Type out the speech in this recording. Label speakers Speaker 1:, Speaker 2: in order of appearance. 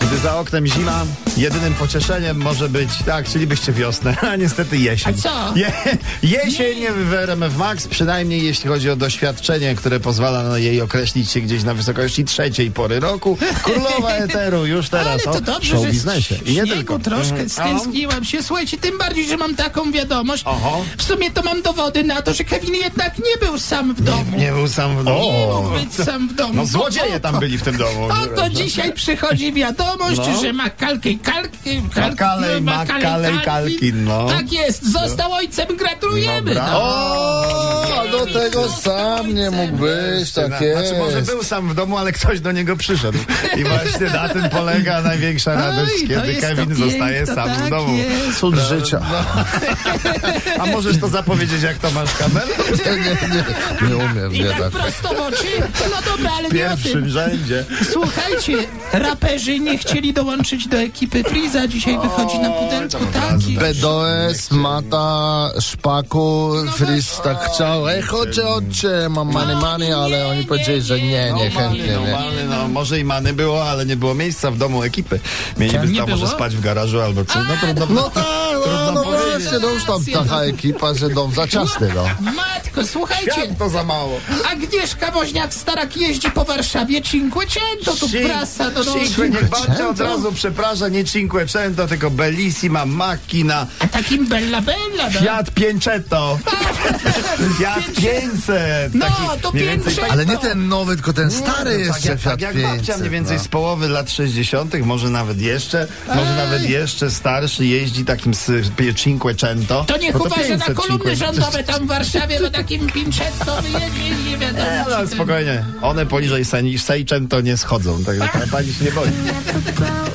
Speaker 1: Gdy za oknem zima, jedynym pocieszeniem może być, tak, chcielibyście wiosnę, a niestety jesień.
Speaker 2: A co?
Speaker 1: Je, jesień w RMF Max, przynajmniej jeśli chodzi o doświadczenie, które pozwala na jej określić się gdzieś na wysokości trzeciej pory roku. Królowa Eteru już teraz
Speaker 2: Ale to
Speaker 1: o
Speaker 2: dobrze,
Speaker 1: show
Speaker 2: że
Speaker 1: biznesie.
Speaker 2: w
Speaker 1: I nie
Speaker 2: śniegu
Speaker 1: tylko.
Speaker 2: troszkę
Speaker 1: Mhm.
Speaker 2: stęskniłam się. Słuchajcie, tym bardziej, że mam taką wiadomość.
Speaker 1: Oho.
Speaker 2: W sumie to mam dowody na to, że Kevin jednak nie był sam w domu.
Speaker 1: Nie był sam w domu.
Speaker 2: Nie mógł być sam w domu.
Speaker 1: No złodzieje
Speaker 2: Oto-
Speaker 1: tam byli w tym domu.
Speaker 2: Oto dzisiaj przychodzi wiadomość,
Speaker 1: No.
Speaker 2: że Makalki Kalki...
Speaker 1: Makalej, Makalej, Kalkin, no.
Speaker 2: Tak jest, został ojcem, gratulujemy. no.
Speaker 1: Dobra.
Speaker 3: O, do tego sam nie mógł być, tak jest.
Speaker 1: Znaczy może był sam w domu, ale ktoś do niego przyszedł. I właśnie na tym polega największa radość,
Speaker 2: Oj, to
Speaker 1: kiedy
Speaker 2: jest to
Speaker 1: Kevin
Speaker 2: piękno,
Speaker 1: zostaje sam w
Speaker 2: tak
Speaker 1: domu.
Speaker 2: jest. No.
Speaker 3: Cud życia.
Speaker 1: A możesz to zapowiedzieć, jak to masz kamerę?
Speaker 3: Nie, Tak, nie, nie, nie umiem,
Speaker 2: I
Speaker 3: nie
Speaker 2: tak
Speaker 3: tak.
Speaker 2: prosto w oczy? No dobra, ale
Speaker 1: W
Speaker 2: nie o tym.
Speaker 1: pierwszym rzędzie.
Speaker 2: Słuchajcie, raperzy nie chcieli dołączyć do ekipy Friza, dzisiaj wychodzi na pudelku taki.
Speaker 3: BDOS, Mata, Szpaku, Fris tak chciał, ej chodźcie, chodźcie, mam money, money, ale oni powiedzieli, że nie, nie, chętnie,
Speaker 1: Many, no,
Speaker 3: nie.
Speaker 1: many, no, może i many było, ale nie było miejsca w domu ekipy. Mieliby
Speaker 2: nie
Speaker 1: tam może
Speaker 2: było?
Speaker 1: spać w garażu albo co. No trudno.
Speaker 3: No tak, no,
Speaker 1: Trudno
Speaker 3: no
Speaker 1: powiedzieć.
Speaker 3: właśnie, no już tam taka ekipa, że dom za ciasny, no.
Speaker 2: Matko, słuchajcie,
Speaker 1: Świat to za mało.
Speaker 2: Agnieszka Woźniak-Starak jeździ po Warszawie Cinquecento, tu
Speaker 1: Cin-
Speaker 2: No prasa do nogi.
Speaker 1: Cinque, niech babcia od
Speaker 3: Cinquecento?
Speaker 1: razu przeprasza, nie Cinquecento, tylko Bellissima, Macchina,
Speaker 2: A takim bella bella, no.
Speaker 1: Fiat 500. Fiat 500.
Speaker 2: No,
Speaker 1: taki
Speaker 2: to
Speaker 1: mniej więcej tak-
Speaker 2: 500.
Speaker 3: Ale nie ten nowy, tylko ten
Speaker 1: No,
Speaker 3: stary
Speaker 1: tak,
Speaker 3: jeszcze
Speaker 1: jak,
Speaker 3: Fiat
Speaker 1: tak jak babcia
Speaker 3: 500,
Speaker 1: mniej więcej
Speaker 3: no.
Speaker 1: z połowy lat 60., może nawet jeszcze, może nawet jeszcze starszy jeździ takim z Cinquecento.
Speaker 2: To niech
Speaker 1: Bo
Speaker 2: uważa na
Speaker 1: 500
Speaker 2: kolumny
Speaker 1: Cinque-
Speaker 2: rządowe tam w Warszawie, bo takim Pinczetto wyjedzie i nie
Speaker 1: Nie,
Speaker 2: wiadomo.
Speaker 1: no,
Speaker 2: czy ten-
Speaker 1: spokojnie. One poniżej Seicento nie schodzą, także ta- tak, pani się nie boi.
Speaker 4: never grow